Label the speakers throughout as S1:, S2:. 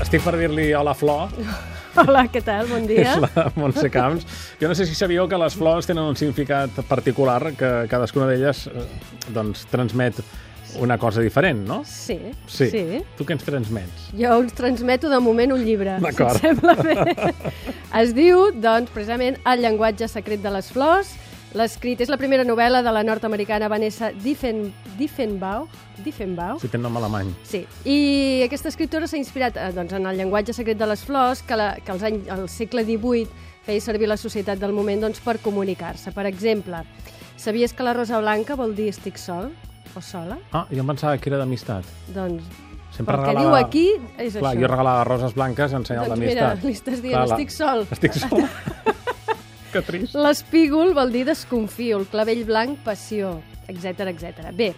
S1: Estic per dir-li hola, Flor.
S2: Hola, què tal? Bon dia.
S1: És la Montse Camps. Jo no sé si sabíeu que les flors tenen un significat particular, que cadascuna d'elles eh, doncs, transmet una cosa diferent, no?
S2: Sí,
S1: Sí.
S2: sí.
S1: Tu què ens transmets?
S2: Jo us transmeto de moment un llibre, si
S1: D'acord.
S2: et sembla bé. Es diu, doncs, precisament, El llenguatge secret de les flors. L'escrit és la primera novel·la de la nord-americana Vanessa Diffen, Diffenbau. Diffenbau.
S1: Si té nom alemany.
S2: Sí, i aquesta escriptora s'ha inspirat eh, doncs, en el llenguatge secret de les flors que, la, que als anys, al segle XVIII feia servir la societat del moment doncs, per comunicar-se. Per exemple, sabies que la rosa blanca vol dir estic sol o sola?
S1: Ah, jo em pensava que era d'amistat.
S2: Doncs
S1: Sempre
S2: pel que
S1: regalava...
S2: diu aquí és
S1: Clar,
S2: això.
S1: jo regalava roses blanques en senyal
S2: doncs mira,
S1: d'amistat.
S2: li estàs dient,
S1: la-
S2: estic sol.
S1: Estic sol. que trist.
S2: L'espígol vol dir desconfio, el clavell blanc, passió, etc etc. Bé,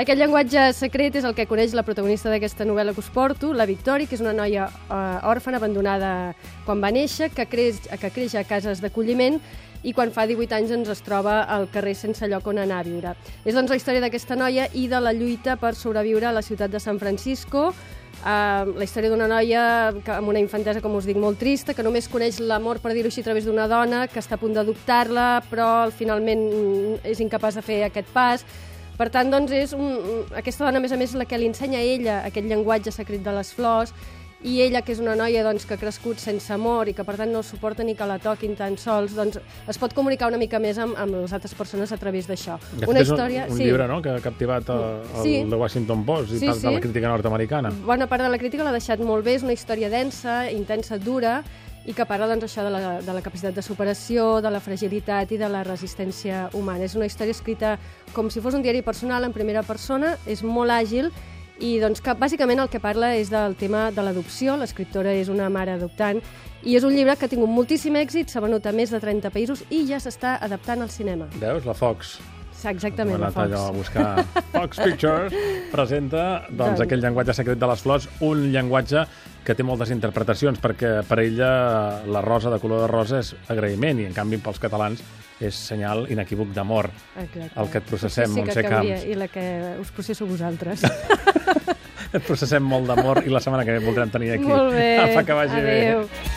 S2: aquest llenguatge secret és el que coneix la protagonista d'aquesta novel·la que us porto, la Victòria, que és una noia eh, òrfana abandonada quan va néixer, que creix, que creix a cases d'acolliment i quan fa 18 anys ens es troba al carrer sense lloc on anar a viure. És doncs la història d'aquesta noia i de la lluita per sobreviure a la ciutat de San Francisco, eh, la història d'una noia que, amb una infantesa, com us dic, molt trista, que només coneix l'amor, per dir-ho així, a través d'una dona, que està a punt d'adoptar-la, però finalment mm, és incapaç de fer aquest pas. Per tant, doncs, és un, un- aquesta dona, a més a més, la que li ensenya a ella aquest llenguatge secret de les flors, i ella, que és una noia doncs, que ha crescut sense amor i que, per tant, no suporta ni que la toquin tan sols, doncs es pot comunicar una mica més amb, amb les altres persones a través d'això.
S1: De fet, és un, un llibre no? que ha captivat eh, el
S2: Sí.
S1: The Washington Post i
S2: Sí,
S1: tant de la
S2: sí.
S1: crítica nord-americana.
S2: Bona part de la crítica l'ha deixat molt bé, és una història densa, intensa, dura, i que parla doncs, això de, la, de la capacitat de superació, de la fragilitat i de la resistència humana. És una història escrita com si fos un diari personal, en primera persona, és molt àgil, i doncs, que, bàsicament el que parla és del tema de l'adopció, l'escriptora és una mare adoptant, i és un llibre que ha tingut moltíssim èxit, s'ha venut a més de 30 països i ja s'està adaptant al cinema.
S1: Veus? La Fox.
S2: Exactament,
S1: Hem
S2: la
S1: anat allò a
S2: Fox.
S1: buscar Fox Pictures, presenta doncs,
S2: Doncs.
S1: aquell llenguatge secret de les flors, un llenguatge que té moltes interpretacions, perquè per ella eh, la rosa de color de rosa és agraïment i, en canvi, pels catalans és senyal inequívoc d'amor.
S2: Exacte.
S1: El que et processem,
S2: sí, sí que
S1: Montse
S2: cabria,
S1: Camps.
S2: I la que us processeu vosaltres.
S1: Et processem molt d'amor i la setmana que ve voldrem tenir aquí.
S2: Molt bé.
S1: Apa, que vagi bé.
S2: Adéu. bé.